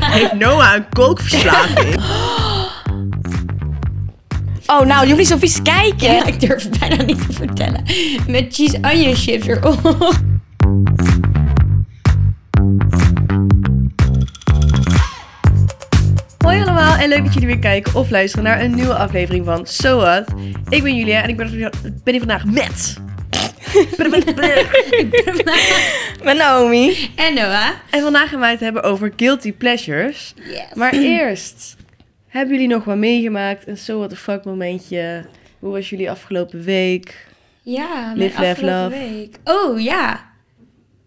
Heeft Noah een kookverslaving? Oh, nou, je hoeft niet zo vies kijken. Ja, ik durf het bijna niet te vertellen. Met cheese onion chips erop. Hoi allemaal en leuk dat jullie weer kijken of luisteren naar een nieuwe aflevering van So What. Ik ben Julia en ik ben, ben hier vandaag met... Met Naomi. en Noah. En vandaag gaan wij het hebben over guilty pleasures. Yes. Maar eerst, hebben jullie nog wat meegemaakt? Een So What The Fuck momentje? Hoe was jullie afgelopen week? Ja, mijn Live, laugh, afgelopen love. week. Oh ja.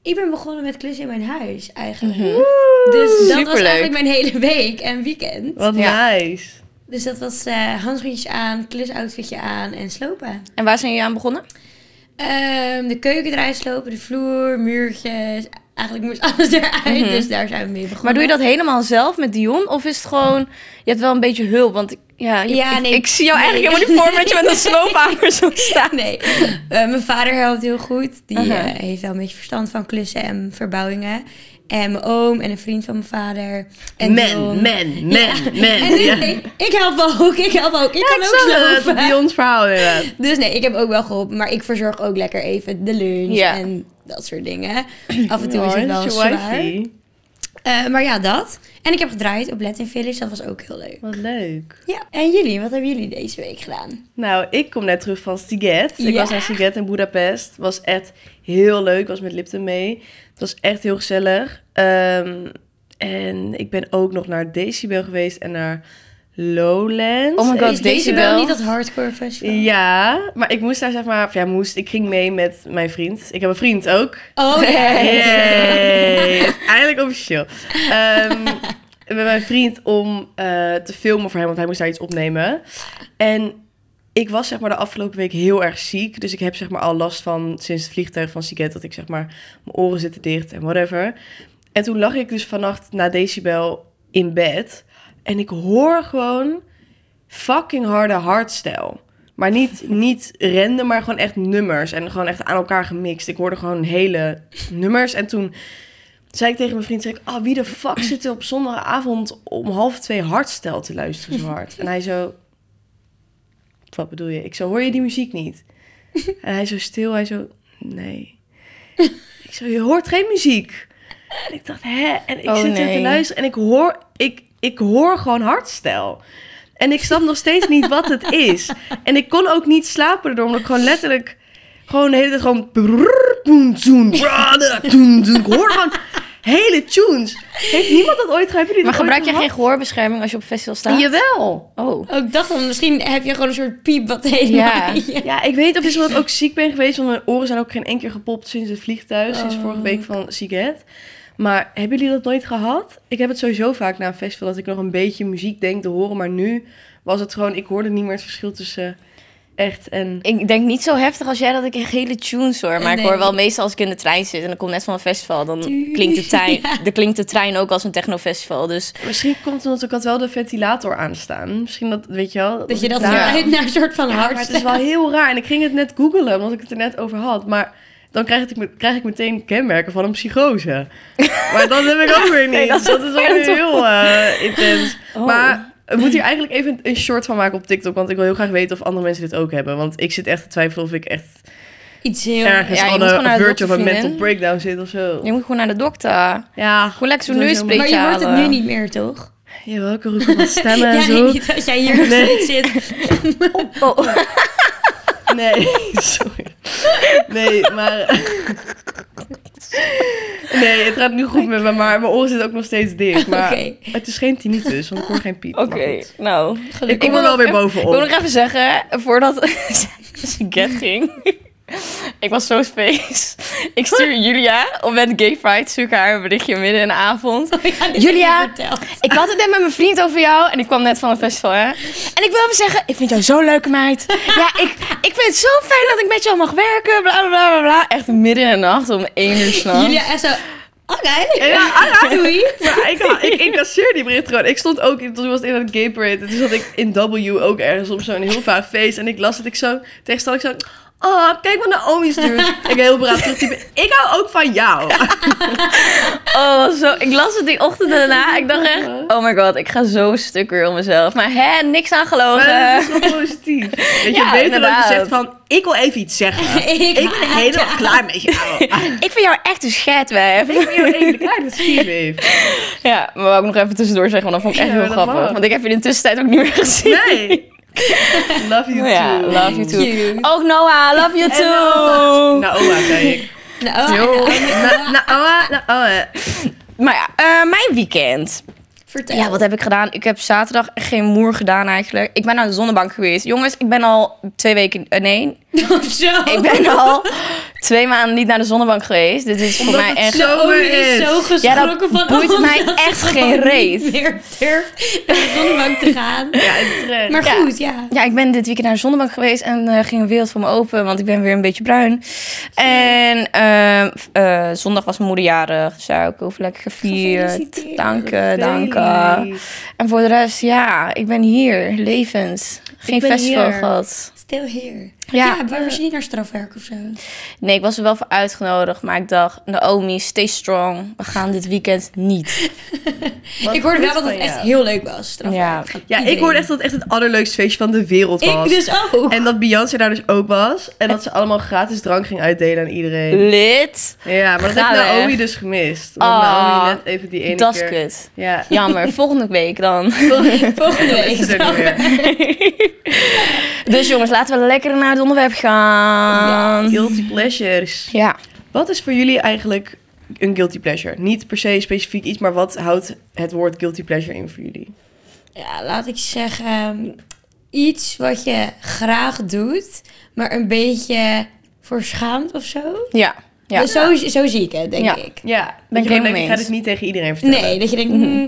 Ik ben begonnen met klussen in mijn huis eigenlijk. Mhm. Dus dat was Superleuk. eigenlijk mijn hele week en weekend. Wat Ja. nice. Dus dat was eh handschoentjes aan, klusoutfitje aan en slopen. En waar zijn jullie aan begonnen? Ehm, de keuken eruit slopen, de vloer, muurtjes. Eigenlijk moest alles eruit, dus daar zijn we mee begonnen. Mhm. Maar doe je dat helemaal zelf met Dion? Of is het gewoon, je hebt wel een beetje hulp? Want ik- ja, je- Ja, ik, nee. ik zie jou Nee. eigenlijk helemaal niet voor met je met een sloophamer zo staan. Nee, Eh, mijn vader helpt heel goed. Die eh, Aha. heeft wel een beetje verstand van klussen en verbouwingen. En mijn oom en een vriend van mijn vader. En Men, Dion. men, Ja. men, men. En Ja. ik, ik help ook, ik help ook. Ik Ja, ik kan ook zag het slopen. op Dion's verhaal inderdaad. Dus nee, ik heb ook wel geholpen. Maar ik verzorg ook lekker even de lunch Ja. en dat soort dingen. Af en toe is het wel Orange zwaar. wifey. Eh, maar ja, dat. En ik heb gedraaid op Latin Village. Dat was ook heel leuk. Wat leuk. Ja. En jullie, wat hebben jullie deze week gedaan? Nou, ik kom net terug van Siget. Ik Ja. was naar Siget in Budapest. Was echt heel leuk. Was met Lipton mee. Het was echt heel gezellig. Ehm, en ik ben ook nog naar Decibel geweest en naar Lowlands. Oh my god, Is deze Decibel? wel niet dat hardcore festival? Ja, maar ik moest daar zeg maar... of ja, moest. Ik ging mee met mijn vriend. Ik heb een vriend ook. Oh ja. Yay! Eindelijk officieel. Ehm met mijn vriend om eh, te filmen voor hem, want hij moest daar iets opnemen. En ik was zeg maar de afgelopen week heel erg ziek. Dus ik heb zeg maar al last van sinds het vliegtuig van Siget dat ik zeg maar mijn oren zitten dicht en whatever. En toen lag ik dus vannacht na decibel in bed. En ik hoor gewoon fucking harde hardstyle. Maar niet, niet random, maar gewoon echt nummers. En gewoon echt aan elkaar gemixt. Ik hoorde gewoon hele nummers. En toen zei ik tegen mijn vriend, zei ik... ah wie de fuck zit er op zondagavond om half twee hardstyle te luisteren zo hard? En hij zo... Wat bedoel je? Ik zo, hoor je die muziek niet? En hij zo stil, hij zo... Nee. Ik zo, je hoort geen muziek. En ik dacht, hè? En ik Oh, zit hier nee. te luisteren en ik hoor, ik, ik hoor gewoon hardstyle. En ik snap nog steeds niet wat het is. En ik kon ook niet slapen erdoor, omdat ik gewoon letterlijk... Gewoon de hele tijd gewoon... brrrr, poen, zoen, brada, toen, zoen. Ik hoor gewoon hele tunes. Heeft niemand dat ooit... Hebben jullie Maar dat gebruik ooit je geen gehad? gehoorbescherming als je op festival staat? Jawel. Oh. Oh, ik dacht dan, misschien heb je gewoon een soort piep wat helemaal... Ja. Ja. Ja, ik weet of het is omdat ik ook ziek ben geweest. Want mijn oren zijn ook geen enkele keer gepopt sinds het vliegtuig. Sinds vorige week van Siget. Maar hebben jullie dat nooit gehad? Ik heb het sowieso vaak na een festival dat ik nog een beetje muziek denk te horen. Maar nu was het gewoon... Ik hoorde niet meer het verschil tussen echt en... Ik denk niet zo heftig als jij dat ik echt hele tunes hoor. Maar Nee. ik hoor wel meestal als ik in de trein zit en ik kom net van een festival. Dan klinkt de trein, dan klinkt de trein ook als een technofestival. Dus Misschien komt het omdat ik had wel de ventilator aanstaan. Misschien dat, weet je wel... Dat je dat het daar- uit naar een soort van Ja, maar hardstyle. het is wel heel raar. En ik ging het net googelen, omdat ik het er net over had. Maar dan krijg ik, me- krijg ik meteen kenmerken van een psychose. Maar dat heb ik ook weer niet. Nee, dat dat, is is wel vervelend, heel eh, intens. Oh. Maar we moeten hier eigenlijk even een- een short van maken op TikTok. Want ik wil heel graag weten of andere mensen dit ook hebben. Want ik zit echt te twijfelen of ik echt Iets heel... ergens ja, je aan moet een gewoon naar de verge of een dokter, mental vriendin. breakdown zit of zo. je moet gewoon naar de dokter. Ja, Gewoon lekker zo'n Dat is neusprikje Maar je hoort het halen. nu niet meer, toch? ja welke roep van stemmen en ja, zo. nee, niet als jij hier nog Nee. steeds zit. Oh. Nee, sorry. Nee, maar. Nee, het gaat nu goed met me, maar mijn oren zitten ook nog steeds dicht. Maar Oké. het is geen tinnitus, want ik hoor geen piep. maar Oké, goed. nou. Ik kom wil er wel nog weer even- Ik wil bovenop. nog even zeggen, voordat Get ging, ik was zo space. Ik stuur Julia, op met Gay Pride stuur ik haar een berichtje midden in de avond. Oh, ja, dit Julia. heb je verteld. Ik had het net met mijn vriend over jou en ik kwam net van een festival, hè. En ik wil even zeggen, ik vind jou zo'n leuke meid. Ja, ik, ik vind het zo fijn dat ik met jou mag werken, bla bla bla bla, bla. Echt midden in de nacht om één uur s'nachts. Julia en zo... Oké, Ja, ah, ja. doei. Maar ik, ik incasseer die bericht gewoon. Ik stond ook, in- toen was het in het Gay Parade. en Toen zat ik in W ook ergens op zo'n heel vaag feest. En ik las het, ik zo, tegenstand ik zo... Oh, kijk wat Naomi stuurt. ik heel braaf terugtypen. Ik hou ook van jou. Oh, zo. Ik las het die ochtend daarna. Ik dacht echt, oh my god, ik ga zo stuk weer om mezelf. Maar hè, niks aan Maar dat gelogen. is dus wel positief. Dat je weet Ja, dat je inderdaad. zegt van, ik wil even iets zeggen. Ik Ik ben haat helemaal jou. klaar met jou. Ik vind jou echt een schetwijf. Ik ben klaar met Steve. Ja, maar wou ik nog even tussendoor zeggen, want dat vond ik echt Ja, heel dat grappig. mag. Want ik heb je in de tussentijd ook niet meer gezien. Nee. Love you too. Oh Ja, love you too. Cute. Ook Noah, love you too. Naoa, zei ik. Nou, Joh. Na- Naoa, Naoa. Maar ja, eh, mijn weekend. vertel. Ja, wat heb ik gedaan? Ik heb zaterdag echt geen moer gedaan eigenlijk. Ik ben naar de zonnebank geweest. Jongens, ik ben al twee weken... eh, nee, Of Oh, zo. ik ben Oh. al twee maanden niet naar de zonnebank geweest. Dit is voor Omdat mij het echt... zo- Oh, Zomer die is is. zo Ja, geschrokken dat van boeit ons mij dat echt ze geen gewoon reet. niet meer durft naar de zonnebank te gaan. Ja, eh, en terecht. Maar Ja. goed, ja. Ja, ik ben dit weekend naar de zonnebank geweest en eh, ging een wereld voor me open, want ik ben weer een beetje bruin. En ehm, f- eh, zondag was mijn moeder jarig, dus ja, ook heel veel lekker gevierd. Gefeliciteerd. Dank je, dank je. En voor de rest, ja, ik ben hier, levend. Geen ben festival hier. gehad. Still here. Ja. Ja, waar was je niet naar strafwerk of zo? Nee, ik was er wel voor uitgenodigd, maar ik dacht, Naomi, stay strong. We gaan dit weekend niet. ik hoorde wel dat het echt heel leuk was, Ja. strafwerk. Van Ja, ik iedereen. hoorde echt dat het echt het allerleukste feestje van de wereld was. Ik dus ook. En dat Beyoncé daar dus ook was. En dat ze allemaal gratis drank ging uitdelen aan iedereen. Lid, Ja, maar dat Ga heeft weg. Naomi dus gemist. Want Ah, Naomi net even die ene dat is keer... kut. Ja. Jammer, volgende week dan. Volgende Dat week. is er niet meer. Dus jongens, laten we lekker naar het onderwerp gaan. Guilty pleasures. Ja. Wat is voor jullie eigenlijk een guilty pleasure? Niet per se specifiek iets, maar wat houdt het woord guilty pleasure in voor jullie? Ja, laat ik zeggen, ehm, iets wat je graag doet, maar een beetje voor schaamt of zo. Ja. Ja. Dus zo, zo zie ik het, denk Ja. ik. Ja, dat Ben je ik gewoon helemaal denkt, ik ga mee dit niet tegen iedereen vertellen. Nee, dat je Mhm. denkt, hmm,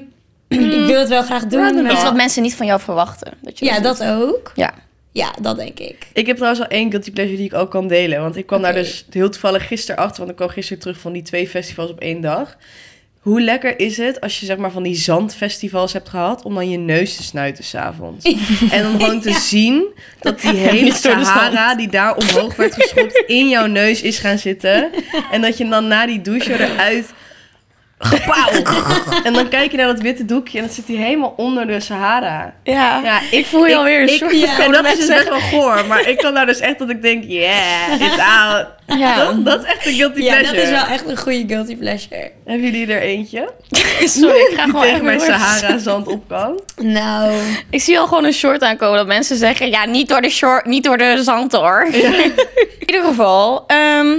ik wil het wel graag doen. Random. maar- Iets wat mensen niet van jou verwachten. Dat je Ja, doet. dat ook. Ja. Ja, dat denk ik. Ik heb trouwens al één guilty pleasure die ik ook kan delen. Want ik kwam daar Oké. dus heel toevallig gisteren achter. Want ik kwam gisteren terug van die twee festivals op één dag. Hoe lekker is het als je zeg maar van die zandfestivals hebt gehad... om dan je neus te snuiten s'avonds. en om gewoon te zien dat die hele Niet door de Sahara... die daar omhoog werd geschopt in jouw neus is gaan zitten. En dat je hem dan na die douche eruit... Gepauw! en dan kijk je naar dat witte doekje en dat zit hij helemaal onder de Sahara. Ja. Ja, Ik voel je ik- alweer een ik- soort ja, van En dat is dus mensen. best wel goor, maar ik kan daar dus echt dat ik denk, yeah, it's out. Ja. Dat, dat is echt een guilty Ja, dat pleasure. is wel echt een goede guilty pleasure. Hebben jullie er eentje? Sorry, ik Die ga gewoon tegen echt mijn weer door. Sahara zand op kan? Nou, Ik zie al gewoon een short aankomen dat mensen zeggen... Ja, niet door de short, niet door de zand hoor. In ieder geval... ehm,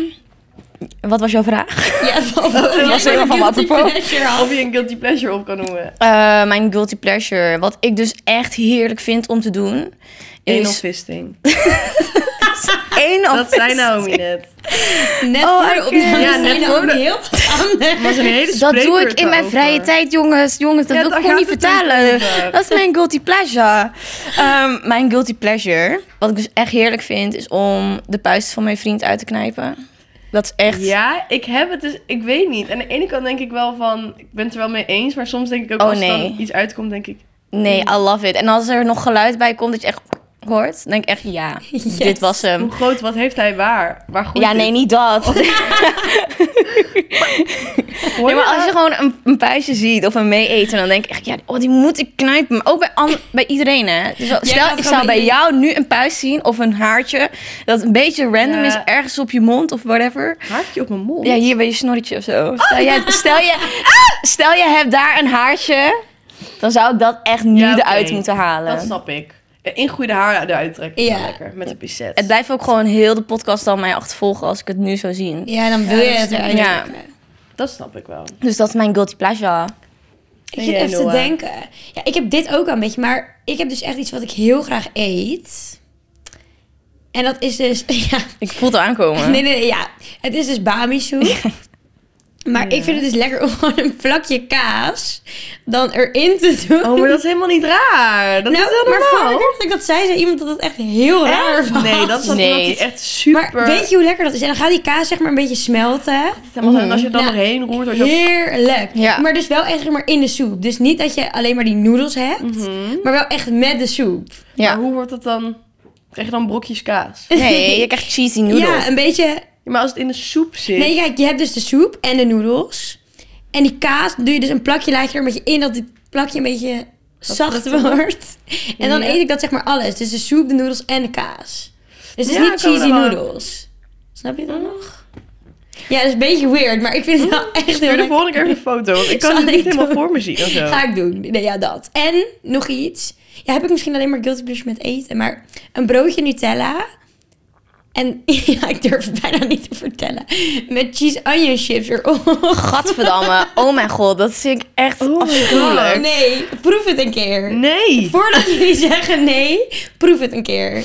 wat was jouw vraag? ja, van, was helemaal van me apropos. Of je een guilty pleasure op kan noemen. Eh, mijn guilty pleasure. Wat ik dus echt heerlijk vind om te doen... Anal Is Oh, fisting. één of Dat nou zei Naomi net. Net Oh, voor de oké. opname Ja, zei net Naomi voor de- heel wat anders. Dat was een hele Dat doe ik spreker in mijn daarover. vrije tijd, jongens. Jongens, dat Ja, wil ik daar gewoon niet gaat het vertellen. natuurlijk over. Dat is mijn guilty pleasure. Ehm, mijn guilty pleasure, wat ik dus echt heerlijk vind, is om de puist van mijn vriend uit te knijpen. Dat is echt... Ja, ik heb het dus, ik weet niet. Aan de ene kant denk ik wel van, ik ben het er wel mee eens, maar soms denk ik ook Oh, als er nee. dan iets uitkomt, denk ik, Nee, I love it. En als er nog geluid bij komt dat je echt hoort, dan denk ik echt ja, Yes. dit was hem. hoe groot, wat heeft hij waar? Waar goed Ehm. Ja, nee, niet dat. Nee, maar als je gewoon een, een puistje ziet of een mee-eten, dan denk ik echt, ja, oh, die moet ik knijpen. Maar ook bij, an- bij iedereen, hè. Dus al- stel, gaat gewoon ik bij zou bij iedereen. jou nu een puist zien of een haartje dat een beetje random Ja. is, ergens op je mond of whatever. Oh, Haartje op mijn mond? Ja, hier bij je snorretje of zo. Stel je, stel je, stel je hebt daar een haartje, dan zou ik dat echt nu Ja, oké. eruit moeten halen. Dat snap ik. Ja, Ingroeide haar eruit trekken. is wel Ja. Lekker, met een pincet. Het blijft ook gewoon heel de podcast dan mij achtervolgen als ik het nu zou zien. Ja, dan wil je het eruit Ja. trekken. Dat snap ik wel. Dus dat is mijn guilty pleasure. Ik jij, zit even te Noah? denken. Ja, ik heb dit ook al een beetje, maar ik heb dus echt iets wat ik heel graag eet. En dat is dus, ja, Ik voel het al aankomen. nee, nee, nee, ja. Het is dus bami soep. Maar ik vind het dus lekker om gewoon een plakje kaas dan erin te doen. Oh, maar dat is helemaal niet raar. Dat nou, is heel maar vorige normaal. keer dat ik dat zei, zei iemand dat het echt heel raar Echt? was. Nee, dat is dan Nee. iemand die echt super... Maar weet je hoe lekker dat is? En dan gaat die kaas zeg maar een beetje smelten. En als je het dan Ja. erheen roert... als je- Heerlijk. Ja. Maar dus wel echt zeg maar in de soep. Dus niet Mhm. dat je alleen maar die noedels hebt, maar wel echt met de soep. Ja. Maar hoe wordt dat dan Krijg je dan brokjes kaas? Nee, je krijgt cheesy noodles. Ja, een beetje. Ja, maar als het in de soep zit... Nee, kijk, je hebt dus de soep en de noedels. En die kaas doe je dus een plakje, laat je er een beetje in dat dit plakje een beetje zacht wordt. En dan Ja. eet ik dat zeg maar alles. Dus de soep, de noedels en de kaas. Dus het is Ja, niet komen cheesy er wel- noedels. Snap je dat nog? Ja, dat is een beetje weird, maar ik vind Hm? het wel echt heel Stuur de lekker. volgende keer even een foto, want ik kan Zal het ik niet helemaal doen? voor me zien. of zo. Ga ik doen. Nee, ja, dat. En nog iets. Ja, heb ik misschien alleen maar guilty pleasure met eten. Maar een broodje Nutella. En ja, ik durf het bijna niet te vertellen. Met cheese onion chips erop. Gadverdamme. Oh mijn god, dat vind ik echt Oh my afschuwelijk. god. Nee, proef het een keer. Nee! Voordat jullie zeggen nee, proef het een keer.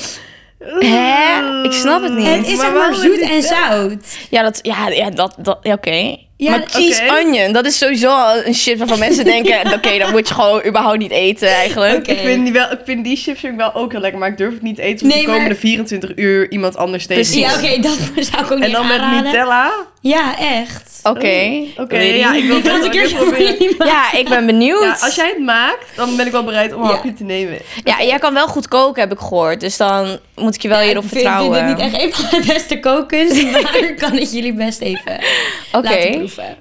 Hè? Ik snap het niet. Het is zeg maar waarom zoet heb je en dat? zout. Ja, dat, ja, ja, dat, dat ja, oké. Ja, maar dat- cheese oké. onion, dat is sowieso al een shit waarvan mensen denken... oké, dat moet je gewoon überhaupt niet eten eigenlijk. Oké. Ik vind, die wel, ik vind die chips vind ik wel ook heel lekker, maar ik durf het niet te eten. Want Nee, de komende maar- 24 uur iemand anders tegen. Precies. Ja, oké, dat zou ik ook En niet dan met aanraden. Nutella. Ja, echt. Oké. Oh, Oké, Really? ja, ik wil Ik het had wel een keer even zo proberen. Ja, ik ben benieuwd. Ja, als jij het maakt, dan ben ik wel bereid om een Ja. hapje te nemen. Ja, jij kan wel goed koken, heb ik gehoord. Dus dan moet ik je wel Ja, hierop ik vind- vertrouwen. Ik vind dit niet echt een van de beste kokens, maar ik kan het jullie best even Oké. laten proeven.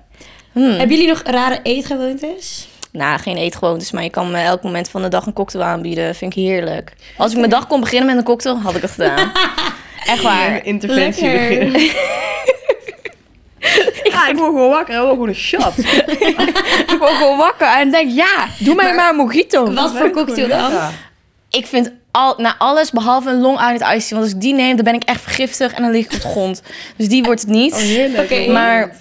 Hmm. Hebben jullie nog rare eetgewoontes? Nou, geen eetgewoontes, maar je kan me elk moment van de dag een cocktail aanbieden. Vind ik heerlijk. Als ik mijn dag kon beginnen met een cocktail, had ik het gedaan. Echt waar. Een interventie Lekker. beginnen. Ja, ik word gewoon wakker. Ik wil gewoon een shot. Ik word gewoon wakker en denk, ja, doe mij Maar- maar een mojito. Wat voor cocktail dan? Ja. Ik vind al, nou, alles behalve een long island iced tea. Want als ik die neem, dan ben ik echt vergiftig en dan lig ik op de grond. Dus die wordt het niet. Oh, heerlijk. Oké, hoor. Maar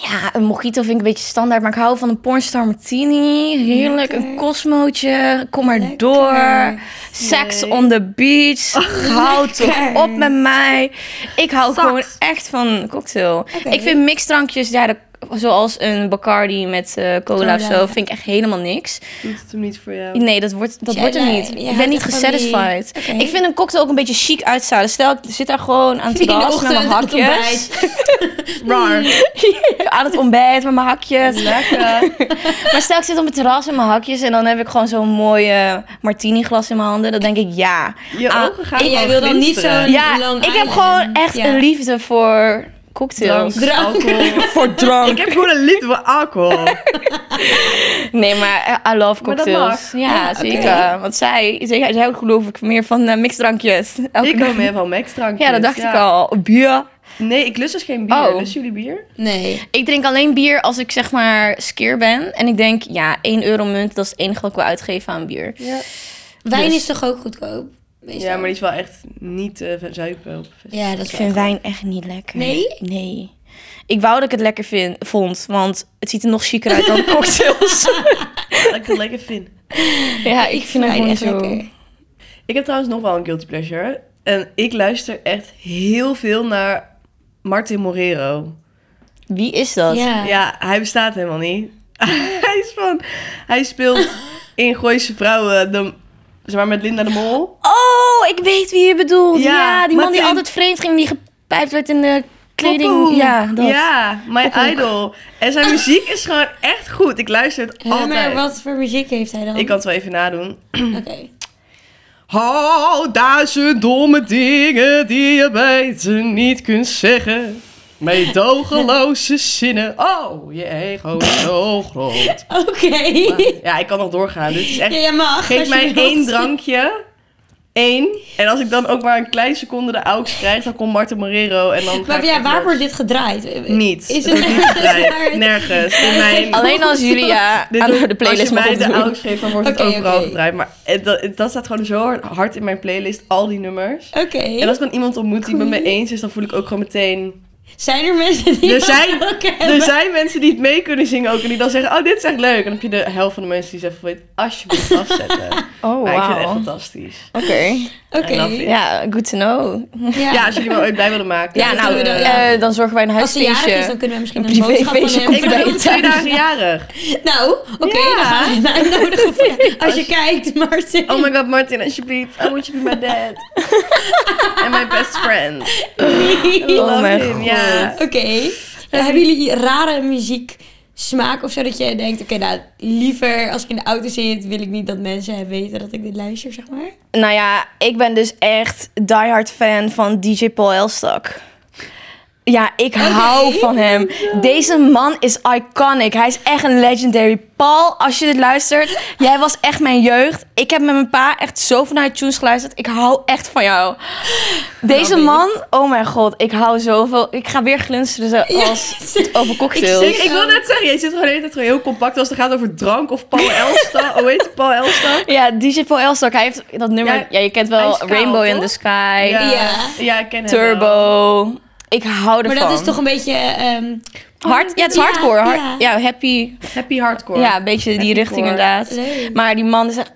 ja, een mojito vind ik een beetje standaard. Maar ik hou van een pornstar martini. Heerlijk, een cosmootje. Kom maar Lekker. door. Sex Nee. on the beach. Houd Oh, lekker. toch op met mij. Ik hou Saks. gewoon echt van een cocktail. Oké. Ik vind mixdrankjes, ja, dat- zoals een Bacardi met eh, cola, of Cola. zo, vind ik echt helemaal niks. Doet het hem niet voor jou. Nee, dat wordt, dat Jij- wordt er nee, niet. je Ik houdt ben niet echt van die- gesatisfied. Oké. Ik vind een cocktail ook een beetje chic uitstaan. Stel, ik zit daar gewoon aan het In de terras met mijn ochtend, aan het hakjes. Rar. aan het ontbijt met mijn hakjes. Lekker. Maar stel, ik zit op het terras met mijn hakjes en dan heb ik gewoon zo'n mooie martini glas in mijn handen. Dan denk ik ja. Je Ah, ogen gaan en jij gewoon wil dan niet glinsteren. zo'n- Ja, Long ik heb Island. gewoon echt Ja. een liefde voor Drank, cocktails. Drank. alcohol. Voor drank. Ik heb gewoon een liefde voor alcohol. Nee, maar eh, I love Maar dat cocktails. mag. Ja, Ja, oké. zeker. Want zij, zij, zij houdt geloof ik meer van eh, mixdrankjes. Elke ik dag. hou meer van Max-drankjes. Ja, dat dacht ik al. Bier. Nee, ik lust dus geen bier. Oh. Lust jullie bier? Nee. Ik drink alleen bier als ik zeg maar skeer ben. En ik denk, ja, 1 euro munt, dat is het enige wat ik wil uitgeven aan bier. Ja. Wijn Dus- is toch ook goedkoop? meestal? Ja, maar die is wel echt niet eh, van zuipen. op- Ja, dat is Ik vind wel wijn echt niet lekker. Nee? Nee. Ik wou dat ik het lekker vind, vond, want het ziet er nog chiquer uit dan cocktails. Dat ik het lekker vind. ja, ik vind wijn het gewoon echt zo. lekker. Ik heb trouwens nog wel een guilty pleasure. En ik luister echt heel veel naar Martin Morero. Wie is dat? Ja. Ja, hij bestaat helemaal niet. hij is van... Hij speelt in Gooise Vrouwen de, zeg maar, met Linda de Mol. Oh, ik weet wie je bedoelt. Ja, Ja, die man die Martin. altijd vreemd ging, die gepijpt werd in de kleding. Poepoe. Ja, dat. Ja, My Poepoe. Idol. En zijn muziek is gewoon echt goed. Ik luister het Ja, altijd. maar wat voor muziek heeft hij dan? Ik kan het wel even nadoen. Oké. Oh, duizend domme dingen die je beter niet kunt zeggen. Meedogenloze zinnen. Oh, je ego is zo groot. Oké. Ja, ik kan nog doorgaan. Dit is Ja, echt... jij mag. Geef als je mij wilt. één drankje. Eén. En als ik dan ook maar een kleine seconde de aux krijg, dan komt Marten Morero. En dan ga Maar ik ja, echt waar los. wordt dit gedraaid? Niet. Is het wordt niet gedraaid. Nergens. In mijn... Alleen als Julia Dit aan wordt- de playlist Als mag je mij de opdoen. aux geeft, dan wordt Oké, het overal oké. gedraaid. Maar het- dat, het- dat staat gewoon zo hard in mijn playlist, al die nummers. Oké. En als ik dan iemand ontmoet die het met me eens is, dan voel ik ook gewoon meteen... Zijn er mensen die Er dat zijn, ook er hebben? zijn mensen die het mee kunnen zingen ook en die dan zeggen, oh, dit is echt leuk. En dan heb je de helft van de mensen die zeggen, wil je het alsjeblieft afzetten. Oh, Maar ik vind het echt wauw. fantastisch. Oké. Oké. I love it. Ja, good to know. Ja. Ja, als jullie me ooit blij willen maken. Ja, dat nou, doen we dan, eh, ja. dan zorgen wij een Als ze jarig is, dan huisfeestje. kunnen we misschien Een een, boodschap van privéfeestje hem. komt Ik ben erbij. over twee dagen jarig. Nou, oké, Ja. dan gaan we hem uitnodigen voor- Als je kijkt, Martin. Oh my god, Martin, alsjeblieft. I want you to be my dad. And my best friend. Oké. Oh Love mijn him, god. ja. Ja, hebben jullie rare muziek smaak of zo dat je denkt, oké, nou, liever als ik in de auto zit, wil ik niet dat mensen weten dat ik dit luister, zeg maar. Nou ja, ik ben dus echt diehard fan van DJ Paul Elstak. Ja, ik hou van hem. Deze man is iconic. Hij is echt een legendary. Paul, als je dit luistert, jij was echt mijn jeugd. Ik heb met mijn pa echt zoveel naar tunes geluisterd. Ik hou echt van jou. Deze Nou, man, oh mijn god, ik hou zoveel. Ik ga weer glinsteren zo als het over cocktails. Ik, ik wil net zeggen, je zit gewoon de hele tijd gewoon heel compact als het gaat over drank of Paul Elsta. oh, weet je, Paul Elsta? Ja, DJ Paul Elstak, hij heeft dat nummer. Ja, Ja, je kent hij wel is kaal, Rainbow in toch? the Sky. ja. ja, ik ken hem wel. Turbo. Ik hou ervan. Maar dat is toch een beetje... ehm, Hard, ja, het is Ja, hardcore. hard- ja. ja, happy. Happy hardcore. Ja, een beetje die Happycore. richting inderdaad. Leuk. Maar die man is echt...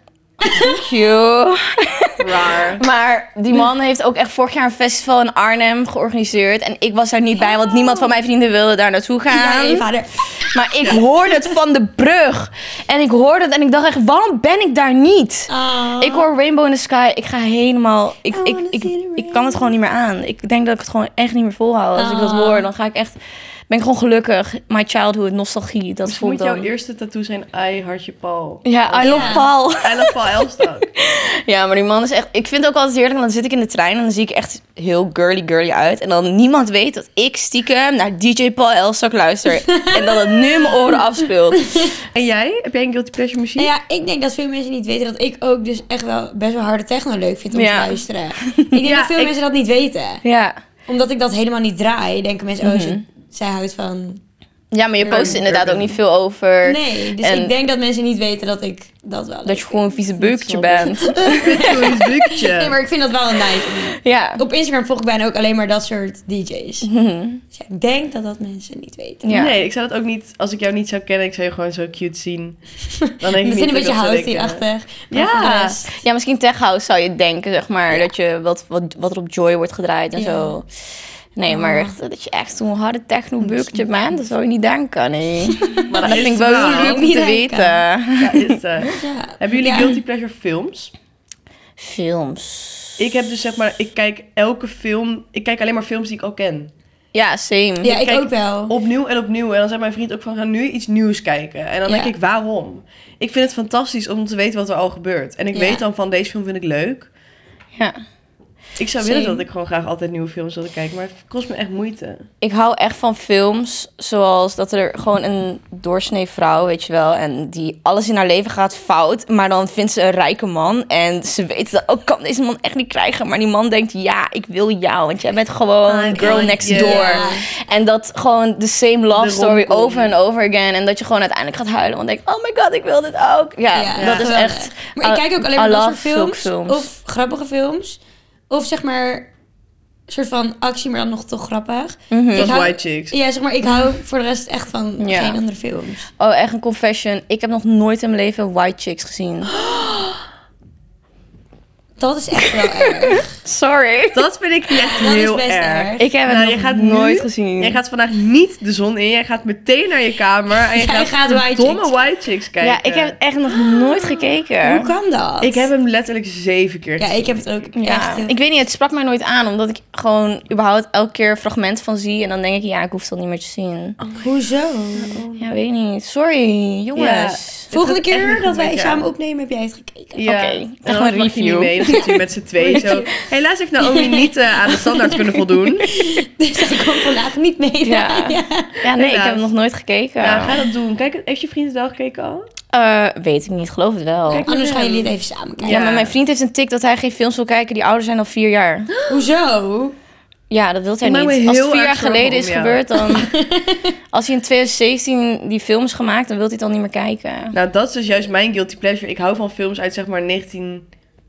Cute. Raar. Maar die man heeft ook echt vorig jaar een festival in Arnhem georganiseerd. En ik was daar niet bij, want niemand van mijn vrienden wilde daar naartoe ja, gaan. je vader. maar ik hoorde het van de brug. En ik hoorde het en ik dacht echt, waarom ben ik daar niet? Ah. Ik hoor Rainbow in the Sky. Ik ga helemaal. Ik, I ik, wanna ik, see the ik kan het gewoon niet meer aan. Ik denk dat ik het gewoon echt niet meer volhoud. Als ik dat Ah. hoor, dan ga ik echt. Ben ik gewoon gelukkig. My childhood, nostalgie. Dat Misschien voelt Dus moet jouw dan. eerste tattoo zijn I hartje Paul. Ja, I love Ja. Paul. I love Paul Elsta. Ja, maar die man is echt. Ik vind het ook altijd heerlijk. want Dan zit ik in de trein en dan zie ik echt heel girly girly uit. En dan niemand weet dat ik stiekem naar DJ Paul Elstak luister. en dat het nu in mijn oren afspeelt. en jij? Heb jij een guilty pleasure muziek? Nou ja, ik denk dat veel mensen niet weten dat ik ook dus echt wel best wel harde techno leuk vind om Ja. te luisteren. Ik denk Ja, dat veel ik- mensen dat niet weten. Ja. Omdat ik dat helemaal niet draai, denken mensen, oh, Mhm. ze- zij houdt van... Ja, maar je post er inderdaad ook niet veel over. Nee, dus en- ik denk dat mensen niet weten dat ik dat wel leuk Dat je gewoon een vieze beukje Dat snap bent. Zo'n bukje. vind. Nee, maar ik vind dat wel een nice. Ja. Op Instagram volg ik bijna ook alleen maar dat soort DJ's. Mhm. Dus ja, ik denk dat dat mensen niet weten. ja. Nee, ik zou dat ook niet... Als ik jou niet zou kennen, ik zou je gewoon zo cute zien. Dan denk ik We niet zijn een dat beetje ik dat zou denken. housey-achtig. maar Ja. voor de rest- Ja, misschien tech house zou je denken, zeg maar. Dat je wat, wat, wat er op Joy wordt gedraaid en Ja. zo. Nee, maar echt, dat je echt zo'n harde techno-beukje man, dat zou je niet denken, nee. Maar dat dat vind ik is wel waar. heel leuk om Niet te denken. weten. Ja, is, eh. Ja. Hebben jullie Ja. guilty pleasure films? Films. Ik heb dus zeg maar... Ik kijk elke film... Ik kijk alleen maar films die ik al ken. Ja, same. Ja, ik Kijk, ook Oh. wel. Opnieuw en opnieuw. En dan zei mijn vriend ook van, ga nu iets nieuws kijken. En dan Ja. denk ik, waarom? Ik vind het fantastisch om te weten wat er al gebeurt. En ik Ja. weet dan van, deze film vind ik leuk. Ja. Ik zou Same. willen dat ik gewoon graag altijd nieuwe films wilde kijken. Maar het kost me echt moeite. Ik hou echt van films zoals dat er gewoon een doorsnee vrouw, weet je wel, en die alles in haar leven gaat fout, maar dan vindt ze een rijke man en ze weet dat, oh, ik kan deze man echt niet krijgen, maar die man denkt, ja, ik wil jou, want jij bent Ah, gewoon I girl want next you. door. Ja. En dat gewoon de same love De story romcom. over en over again en dat je gewoon uiteindelijk gaat huilen, want denk, oh my god, ik wil dit ook. Ja, Ja, dat is geweldig. echt. Maar ik kijk ook alleen I maar dat love soort films, zulke films. Of grappige films. Of zeg maar een soort van actie, maar dan nog toch grappig. Ik Dat is hou- White Chicks. Ja, zeg maar, ik hou voor de rest echt van Ja. geen andere films. Oh, echt een confession. Ik heb nog nooit in mijn leven White Chicks gezien. Dat is echt wel erg. Sorry. Dat vind ik echt Dat heel is best erg. erg. Ik heb het Nou, je nog gaat nu- nooit gezien. Jij gaat vandaag niet de zon in. Jij gaat meteen naar je kamer. En je Ja, gaat, je gaat White domme Chicks. White Chicks kijken. Ja, ik heb echt nog nooit gekeken. Hoe kan dat? Ik heb hem letterlijk zeven keer Ja, ik heb het ook Ja, echt... eh, ik weet niet, het sprak mij nooit aan, omdat ik gewoon überhaupt elke keer een fragment van zie en dan denk ik, ja, ik hoef dat niet meer te zien. Oh. Hoezo? Ja, weet niet. Sorry, jongens. Volgende gaat echt keer niet dat wij goed, ja. samen opnemen, heb jij het gekeken. Ja, Oké, en dan echt een mag je niet review. mee, dan zit je met z'n tweeën zo. Helaas heeft Naomi niet eh, aan de standaard kunnen voldoen. Dus ik kon vandaag niet mee. Ja. Ja, nee, ik heb Helaas. hem nog nooit gekeken. Ja, ga dat doen. Kijk, heeft je vriend het wel gekeken al? Eh, weet ik niet, geloof het wel. Kijk, Anders gaan jullie het even samen kijken. ja, ja. maar mijn vriend heeft een tik dat hij geen films wil kijken die ouder zijn dan vier jaar. Hoezo? Ja, dat wil hij Ik maak me niet. Als het heel vier erg jaar zorgen geleden om is jou. gebeurd, dan... Als hij in 2017 die film is gemaakt, dan wil hij het al niet meer kijken. Nou, dat is dus juist mijn guilty pleasure. Ik hou van films uit zeg maar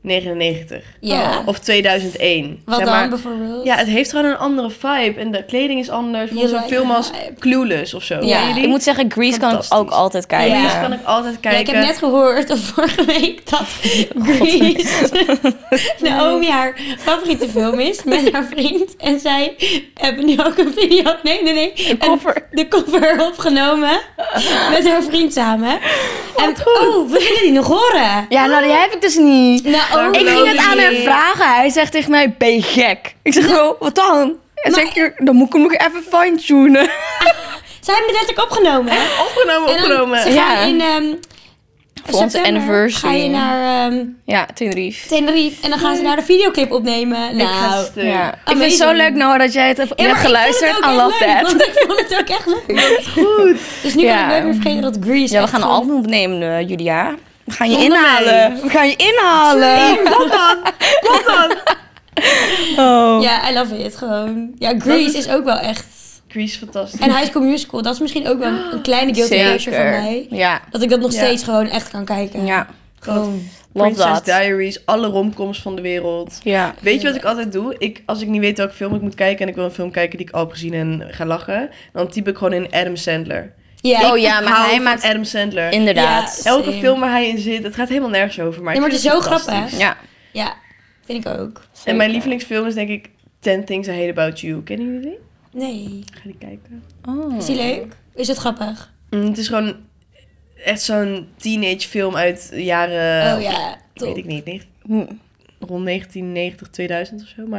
1999 Ja. of 2001. Wat zeg dan maar. bijvoorbeeld? Ja, het heeft gewoon een andere vibe en de kleding is anders. Voor zo'n lijkt film de als vibe. Clueless of zo. Ja. Ken je die? Ik moet zeggen, Grease kan ik Fantastisch. ook altijd kijken. Grease Ja. kan ik altijd Ja, ik kijken. Oh, heb net gehoord of vorige week dat Grease Naomi haar favoriete film is met haar vriend. En zij hebben nu ook een video. Nee, nee, nee. De cover. De cover opgenomen met haar vriend samen. En oh, we willen die nog horen. Nou, oh, Ja, nou, die heb ik dus niet. Naomi. Ik ging het aan hem niet. vragen. Hij zegt tegen mij, ben je gek? Ik zeg, oh, wat dan? En Maar- zeg je, dan moet ik hem nog even fine-tunen. Ze hebben het letterlijk opgenomen. hè? Opgenomen, En dan, opgenomen. ze gaan Ja. in... ehm, Voor onze september anniversary. Ga je naar ehm Ja, Tenerife. Tenerife en dan gaan ze daar de videoclip opnemen. Ik ga Nou, stuk. Ja. Ik vind het Amazing. zo leuk, Noah, dat jij het hebt, Ja, maar hebt ik vond het geluisterd. ook I echt love leuk, that. Want ik vond het ook echt leuk. Goed. Dus nu Ja. kan ik nooit meer vergeten dat Grease Ja, we echt gaan een gewoon- album opnemen, eh, Julia. We gaan je Zonder inhalen. mij. We gaan je inhalen. Wat dan? Wat dan? Oh. Ja, I love it gewoon. Ja, Grease is ook wel echt... Grease, fantastisch. En High School Musical, dat is misschien ook wel een kleine guilty pleasure voor mij. Ja. Dat ik dat nog Ja. steeds gewoon echt kan kijken. Ja. Gewoon. Love Princess that. Diaries, alle romcoms van de wereld. Ja. Weet je wat ik altijd doe? Ik, als ik niet weet welke film ik moet kijken en ik wil een film kijken die ik al heb gezien en ga lachen, dan typ ik gewoon in Adam Sandler. Ja. Oh ja, Ik maar hou hij van maakt... Adam Sandler. Inderdaad. Ja. Elke Same. film waar hij in zit, het gaat helemaal nergens over. Maar, Nee, ik maar vind het is het zo fantastisch. Ja. Ja, vind ik ook. En mijn Zeker. lievelingsfilm is denk ik 10 Things I Hate About You. Kennen jullie die? Nee. Ga die kijken. Oh. Is die leuk? Is het grappig? Mm, het is gewoon echt zo'n teenage film uit de jaren... Eh, oh ja, Weet top. ik niet, negen- Hm. rond 1990, 2000 of zo. Maar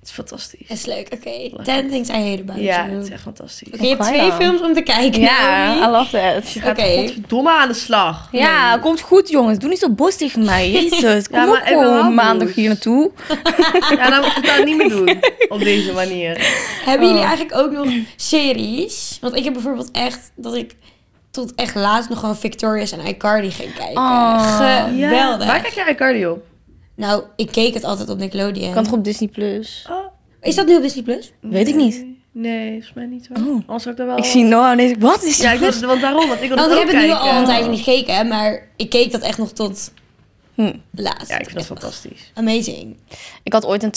het is fantastisch. Is leuk, oké. Ten things I hate about Ja, you. het is Oké, echt fantastisch. je hebt Kan twee wel. films om te kijken. Naomi. Ja, I love that. Gaat Oké. godverdomme aan de slag. Ja, komt goed jongens. Doe niet zo boos tegen mij. Jezus, kom Ja, maar op ik ben wel gewoon maandag boos. hier naartoe. Ja, nou moet ik het nou niet meer doen. Op deze manier. Hebben jullie Oh. eigenlijk ook nog series? Want ik heb bijvoorbeeld echt dat ik tot echt laatst nog gewoon Victorious en iCardi ging kijken. Oh. Geweldig. Waar kijk jij Cardi op? Nou, ik keek het altijd op Nickelodeon. Kan toch op Disney Plus? Oh, Is dat nu op Disney Plus? Weet ik niet. Nee, volgens mij niet hoor. Oh. Anders zou ik daar wel... Ik zie Noah en ik, wat is Ja, ik dit? wil, want daarom, want ik wil Want ik het Nou, heb ook het nu kijken. al een tijdje niet gekeken, hè, maar ik keek dat echt nog tot Hm. laatst. Ja, ik vind dat Echt fantastisch. Amazing. Ik had ooit een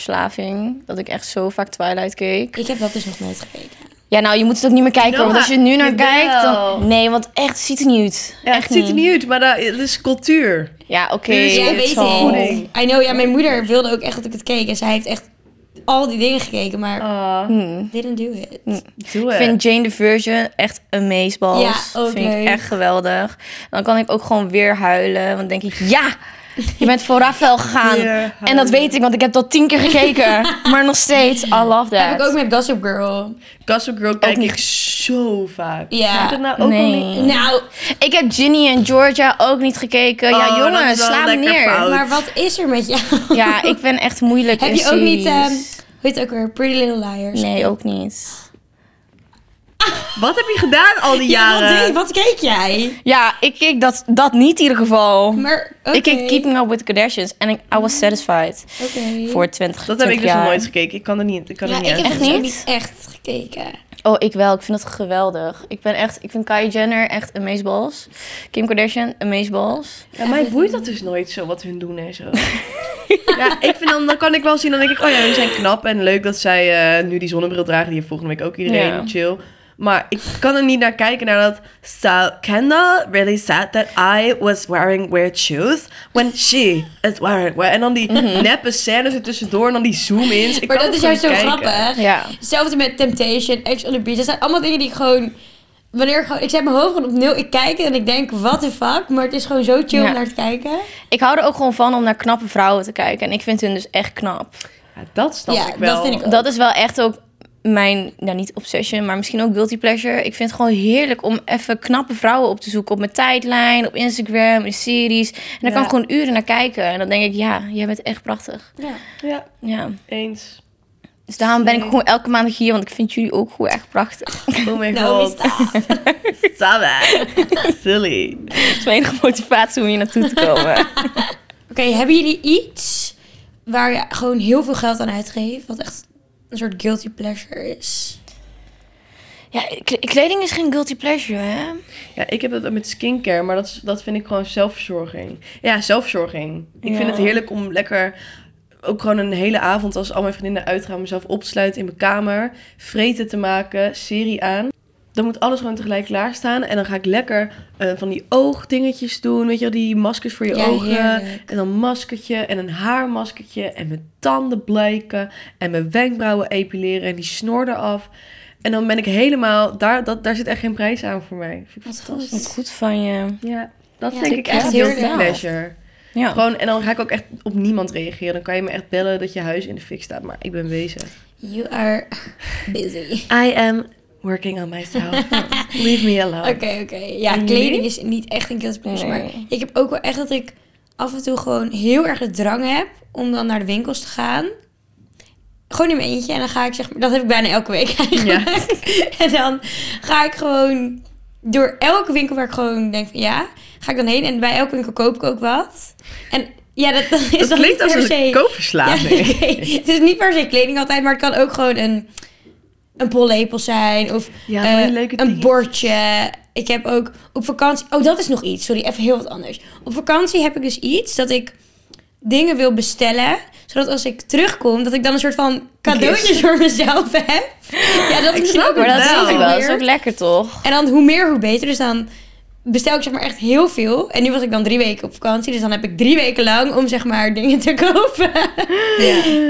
Twilight-verslaving. Dat ik echt zo vaak Twilight keek. Ik heb dat dus nog nooit gekeken. Ja, nou, je moet het ook niet meer kijken. Noah, want als je het nu naar jawel. kijkt, dan... Nee, want echt, het ziet er niet uit. Ja, echt het ziet er niet uit, maar dat, het is cultuur. Ja, oké. Dus Ja, Hey, weet het zal. voeding. ik. I know, ja, mijn moeder wilde ook echt dat ik het keek. En zij heeft echt al die dingen gekeken, maar Ah, Hm. didn't do it. doe Ik het. vind Jane the Virgin echt amazeballs. Ja, ook Vind leuk. ik echt geweldig. Dan kan ik ook gewoon weer huilen. Want dan denk ik, ja, je bent voor Rafael gegaan. Weer huilen. En dat weet ik, want ik heb dat tien keer gekeken. maar nog steeds, I love that. Heb ik ook met Gossip Girl. Gossip Girl kijk niet. ik zo vaak. Ja. Heb ik dat nou ook Nee. al niet? Nou, Ik heb Ginny en Georgia ook niet gekeken. Oh, ja, dat jongens, is wel sla me lekker neer. fout. Oud. maar wat is er met jou? Ja, ik ben echt moeilijk Heb in je ook niet, ehm, series. Hoe heet het ook weer? Pretty Little Liars. Nee, ook niet. Wat heb je gedaan al die Ja, wat, jaren? deed- wat keek jij? Ja, ik keek dat, dat niet in ieder geval. Maar, Ik keek Keeping Up With The Kardashians en ik, I was satisfied. Oké. Voor 20 dat heb ik 20 dus nog jaar. nooit gekeken. Ik kan er niet, ik kan Ja, er ik niet heb uit. Echt echt niet? niet? niet echt gekeken. Oh, ik wel. Ik vind dat geweldig. Ik ben echt... Ik vind Kylie Jenner echt amazeballs. Kim Kardashian, amazeballs. Ja, mij boeit dat dus nooit zo wat hun doen en zo. ja, ik vind dan, dan kan ik wel zien, dan denk ik, oh ja, hun zijn knap en leuk dat zij eh, nu die zonnebril dragen. Die heeft volgende week ook iedereen, Ja. chill. Maar ik kan er niet naar kijken, naar dat... So, Kendall really said that I was wearing weird shoes when she is wearing weird... En dan die neppe scènes er tussendoor en dan die zoom-ins. Ik Maar kan dat is het juist zo gewoon niet kijken. grappig. Ja. Hetzelfde met Temptation, Ex on the Beach. Dat zijn allemaal dingen die ik gewoon... Wanneer ik gewoon... Ik zet mijn hoofd gewoon op nul. Ik kijk het en ik denk, what the fuck? Maar het is gewoon zo chill Ja. om naar te kijken. Ik hou er ook gewoon van om naar knappe vrouwen te kijken. En ik vind hun dus echt knap. Ja, dat snap Ja, ik wel. dat vind ik ook. Dat is wel echt ook mijn... Nou, niet obsession, maar misschien ook guilty pleasure. Ik vind het gewoon heerlijk om even knappe vrouwen op te zoeken. Op mijn tijdlijn, op Instagram, in series. En daar Ja. kan ik gewoon uren naar kijken. En dan denk ik, ja, jij bent echt prachtig. Ja. Ja, Ja. eens. Dus daarom ben ik gewoon elke maand hier. Want ik vind jullie ook gewoon echt prachtig. Oh my Nou, god. Stop it. Silly. Dat is mijn enige motivatie om hier naartoe te komen. Oké, hebben jullie iets waar je gewoon heel veel geld aan uitgeeft? Wat echt een soort guilty pleasure is? Ja, k- kleding is geen guilty pleasure, hè? Ja, ik heb dat ook met skincare, maar dat, is- dat vind ik gewoon zelfverzorging. Ja, zelfverzorging. Ik vind Ja. het heerlijk om lekker ook gewoon een hele avond als al mijn vriendinnen uitgaan, mezelf opsluiten in mijn kamer, vreten te maken, serie aan. Dan moet alles gewoon tegelijk klaarstaan. En dan ga ik lekker eh, van die oogdingetjes doen. Weet je wel, die maskers voor je Ja, ogen. heerlijk. En dan maskertje en een haarmaskertje. En mijn tanden blijken. En mijn wenkbrauwen epileren en die snor eraf. En dan ben ik helemaal... Daar, dat, daar zit echt geen prijs aan voor mij. Vind ik Wat fantastisch. Wat goed van je. Ja, dat Ja, denk ik ik echt echt heel heel guilty graag. pleasure. Ja. Gewoon, en dan ga ik ook echt op niemand reageren. Dan kan je me echt bellen dat je huis in de fik staat, maar ik ben bezig. You are busy. I am working on myself. Leave me alone. Oké, oké. Ja, En kleding jullie? is niet echt een guilty pleasure. Maar Nee. ik heb ook wel echt dat ik af en toe gewoon heel erg de drang heb om dan naar de winkels te gaan. Gewoon in mijn eentje. En dan ga ik zeg maar, dat heb ik bijna elke week eigenlijk. En dan ga ik gewoon door elke winkel waar ik gewoon denk van ja, ga ik dan heen. En bij elke winkel koop ik ook wat. En ja, dat, dat is Dat dan klinkt niet als per se... een koopverslaving. Ja, oké. Het is niet per se kleding altijd, maar het kan ook gewoon een, een pollepel zijn of Ja, eh, van die leuke een dingetjes. bordje. Ik heb ook op vakantie... Oh, dat is nog iets. Sorry, even heel wat anders. Op vakantie heb ik dus iets dat ik dingen wil bestellen, zodat als ik terugkom, dat ik dan een soort van cadeautjes voor mezelf heb. Ja, dat is misschien snap ook het Maar dat wel. is wel. ook wel. Dat is ook lekker, toch? En dan hoe meer, hoe beter. Dus dan bestel ik zeg maar echt heel veel. En nu was ik dan drie weken op vakantie. Dus dan heb ik drie weken lang om zeg maar dingen te kopen.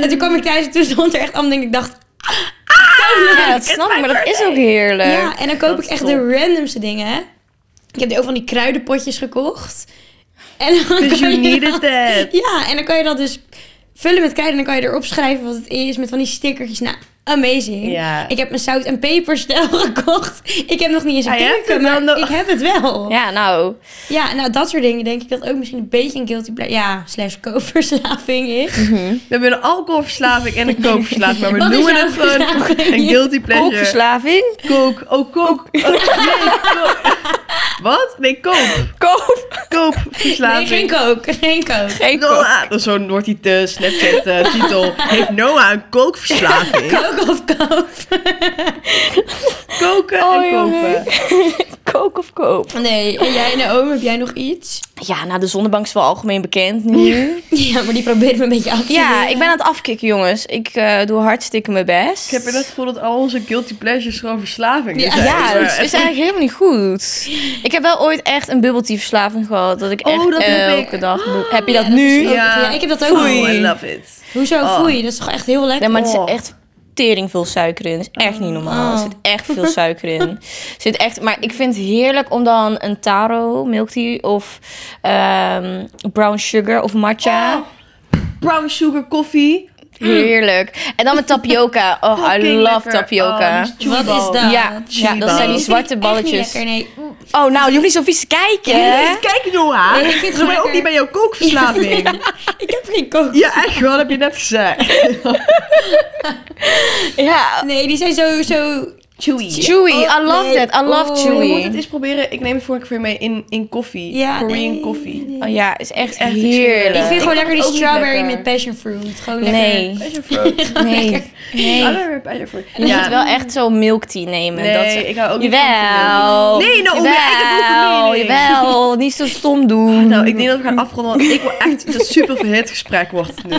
En toen kwam ik thuis en toen stond er echt allemaal dingen. Ik dacht, ah, Ah, Ja, dat snap ik, maar dat is ook heerlijk. ja. En dan koop Eh, ik is echt top. de randomste dingen. Ik heb ook van die kruidenpotjes gekocht. En dan kan Dus you je needed dat- that. Ja, en dan kan je dat dus vullen met kruiden. En dan kan je erop schrijven wat het is met van die stickertjes. Nou, amazing. Ja. Ik heb mijn zout- en peperstel gekocht. Ik heb nog niet eens een Ah, je hebt keuken, het wel maar nog. ik heb het wel. Ja, nou. Ja, nou dat soort dingen denk ik dat ook misschien een beetje een guilty pleasure, ja, slash koopverslaving is. We hebben een alcoholverslaving en een koopverslaving, maar we Wat is noemen jouw het gewoon verslaving? een guilty pleasure. Koopverslaving? Kook, oh kook. Oh, nee, kook. Wat? Nee, koop. Koop. Nee, Koopverslaving. geen kook, geen kook. Geen koop. Noah, dan zo'n wordt die eh, Snapchat-titel. Heeft Noah een kookverslaving? Kook of koop? Koken Oh, en kopen. jongen. Kook of koop? Nee, en jij Naomi, heb jij nog iets? Ja, nou, de zonnebank is wel algemeen bekend nu. Ja, maar die probeer ik me een beetje af te Ja, leren. ik ben aan het afkicken, jongens. Ik eh, doe hartstikke mijn best. Ik heb er net gevoel dat al onze guilty pleasures gewoon verslaving Ja. zijn. Ja, dat Maar is echt- eigenlijk helemaal niet goed. Ik heb wel ooit echt een bubbeltieverslaving gehad. Dat ik Oh, echt dat heb ik. Ah. elke dag... bu- Heb je dat dat nu? is ook- Ja, ik heb dat ook. Oh, I Foei. love it. Hoezo foei? Dat is toch echt heel lekker? Nee, maar het Oh. is echt tering veel suiker in. Dat is echt niet normaal. Er zit echt veel suiker in. Er Zit echt, maar ik vind het heerlijk om dan een taro, milk tea of ehm, brown sugar of matcha. Oh, Brown sugar koffie. Heerlijk. En dan met tapioca. Oh, I Fucking love lekker. tapioca. Oh, die Wat chewy is ball. dat? ja, ja, dat chewy zijn balls. die Ik zwarte balletjes. Echt niet lekker, nee. Oh, nou, je hoeft niet zo vies te kijken. hè? Kijk Noah, Nee, ik vind het doe mij ook lekker. niet bij jouw kookverslaving. Ja. Ik heb geen kook. echt wel, heb je net gezegd. Ja. Nee, die zijn zo, zo... Chewy. Chewy, Oh, I love nee. that. I love Oh. Je moet het chewy. eens proberen. Ik neem het vorige keer mee in, in koffie. Ja, Korean nee. koffie. Oh ja, is echt, Echt heerlijk. Ik vind gewoon lekker die ook niet strawberry lekker. met passion fruit. Gewoon lekker. Nee, Passion fruit. nee, nee. Allerlei passion fruit. Je moet wel echt zo milk tea nemen. Nee, dat is- ik hou ook niet Jawel. Oh, van milk. Nee, nou, ik heb ook Jawel, een mening. jawel. Niet zo stom doen. Nou, ik denk dat we gaan afronden, want ik wil echt dat super verhit gesprek wordt. nu.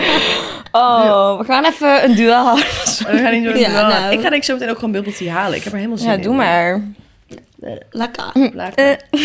Oh, we gaan even een duel houden. We gaan niet zo Ja, ja, nou. Ik ga denk ik zo meteen ook gewoon bubble tea halen. Ik heb er helemaal zin Ja, in. doe maar. Lekker. Later. Eh.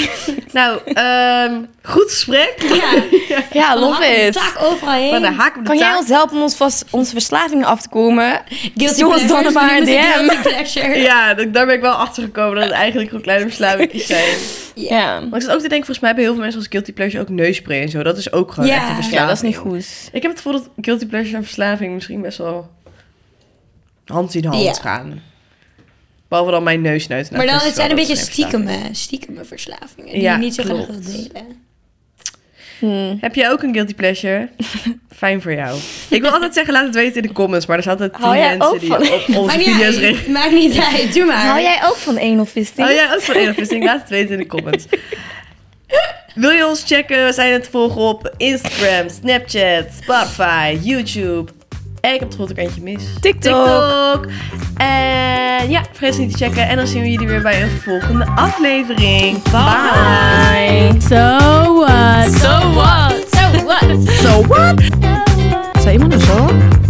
Nou, ehm, goed gesprek. Ja, Ja, van de hak op love de it. Tak overal Van de heen. haak op de Kan jij taak. ons helpen om ons vast, onze verslavingen af te komen? Guilty Doe ons dan pleasures, maar een noemen ze DM. guilty pleasure. Ja, d- daar ben ik wel achter gekomen dat het eigenlijk gewoon kleine verslavingjes zijn. Ja. Maar ik zat ook te denken, volgens mij hebben heel veel mensen als guilty pleasure ook neuspray en zo. Dat is ook gewoon Ja. echt een Ja, dat is verslaving. Ja, dat is niet goed. Ik heb het gevoel dat guilty pleasure en verslaving misschien best wel hand in hand Ja. gaan. Behalve dan mijn neusneut. Maar dan, het zijn een beetje stiekem. stiekeme, stiekeme verslavingen. Die Ja, je niet zo graag klopt. wilt delen. Hm. Heb jij ook een guilty pleasure? Fijn voor jou. Ik wil altijd zeggen, laat het weten in de comments. Maar er zijn altijd tien Hou jij mensen ook die van- op onze Maakt video's niet, reageren. uit, maakt niet uit, doe maar. Hou jij ook van anal fisting? Oh ja, ook voor innovisting. Laat het weten in de comments. Wil je ons checken? We zijn te volgen op Instagram, Snapchat, Spotify, YouTube. En ik heb het grote eentje mis. TikTok. TikTok. En ja, vergeet niet te checken. En dan zien we jullie weer bij een volgende aflevering. Bye. So what? So what? So what? So what? Zou iemand een zo?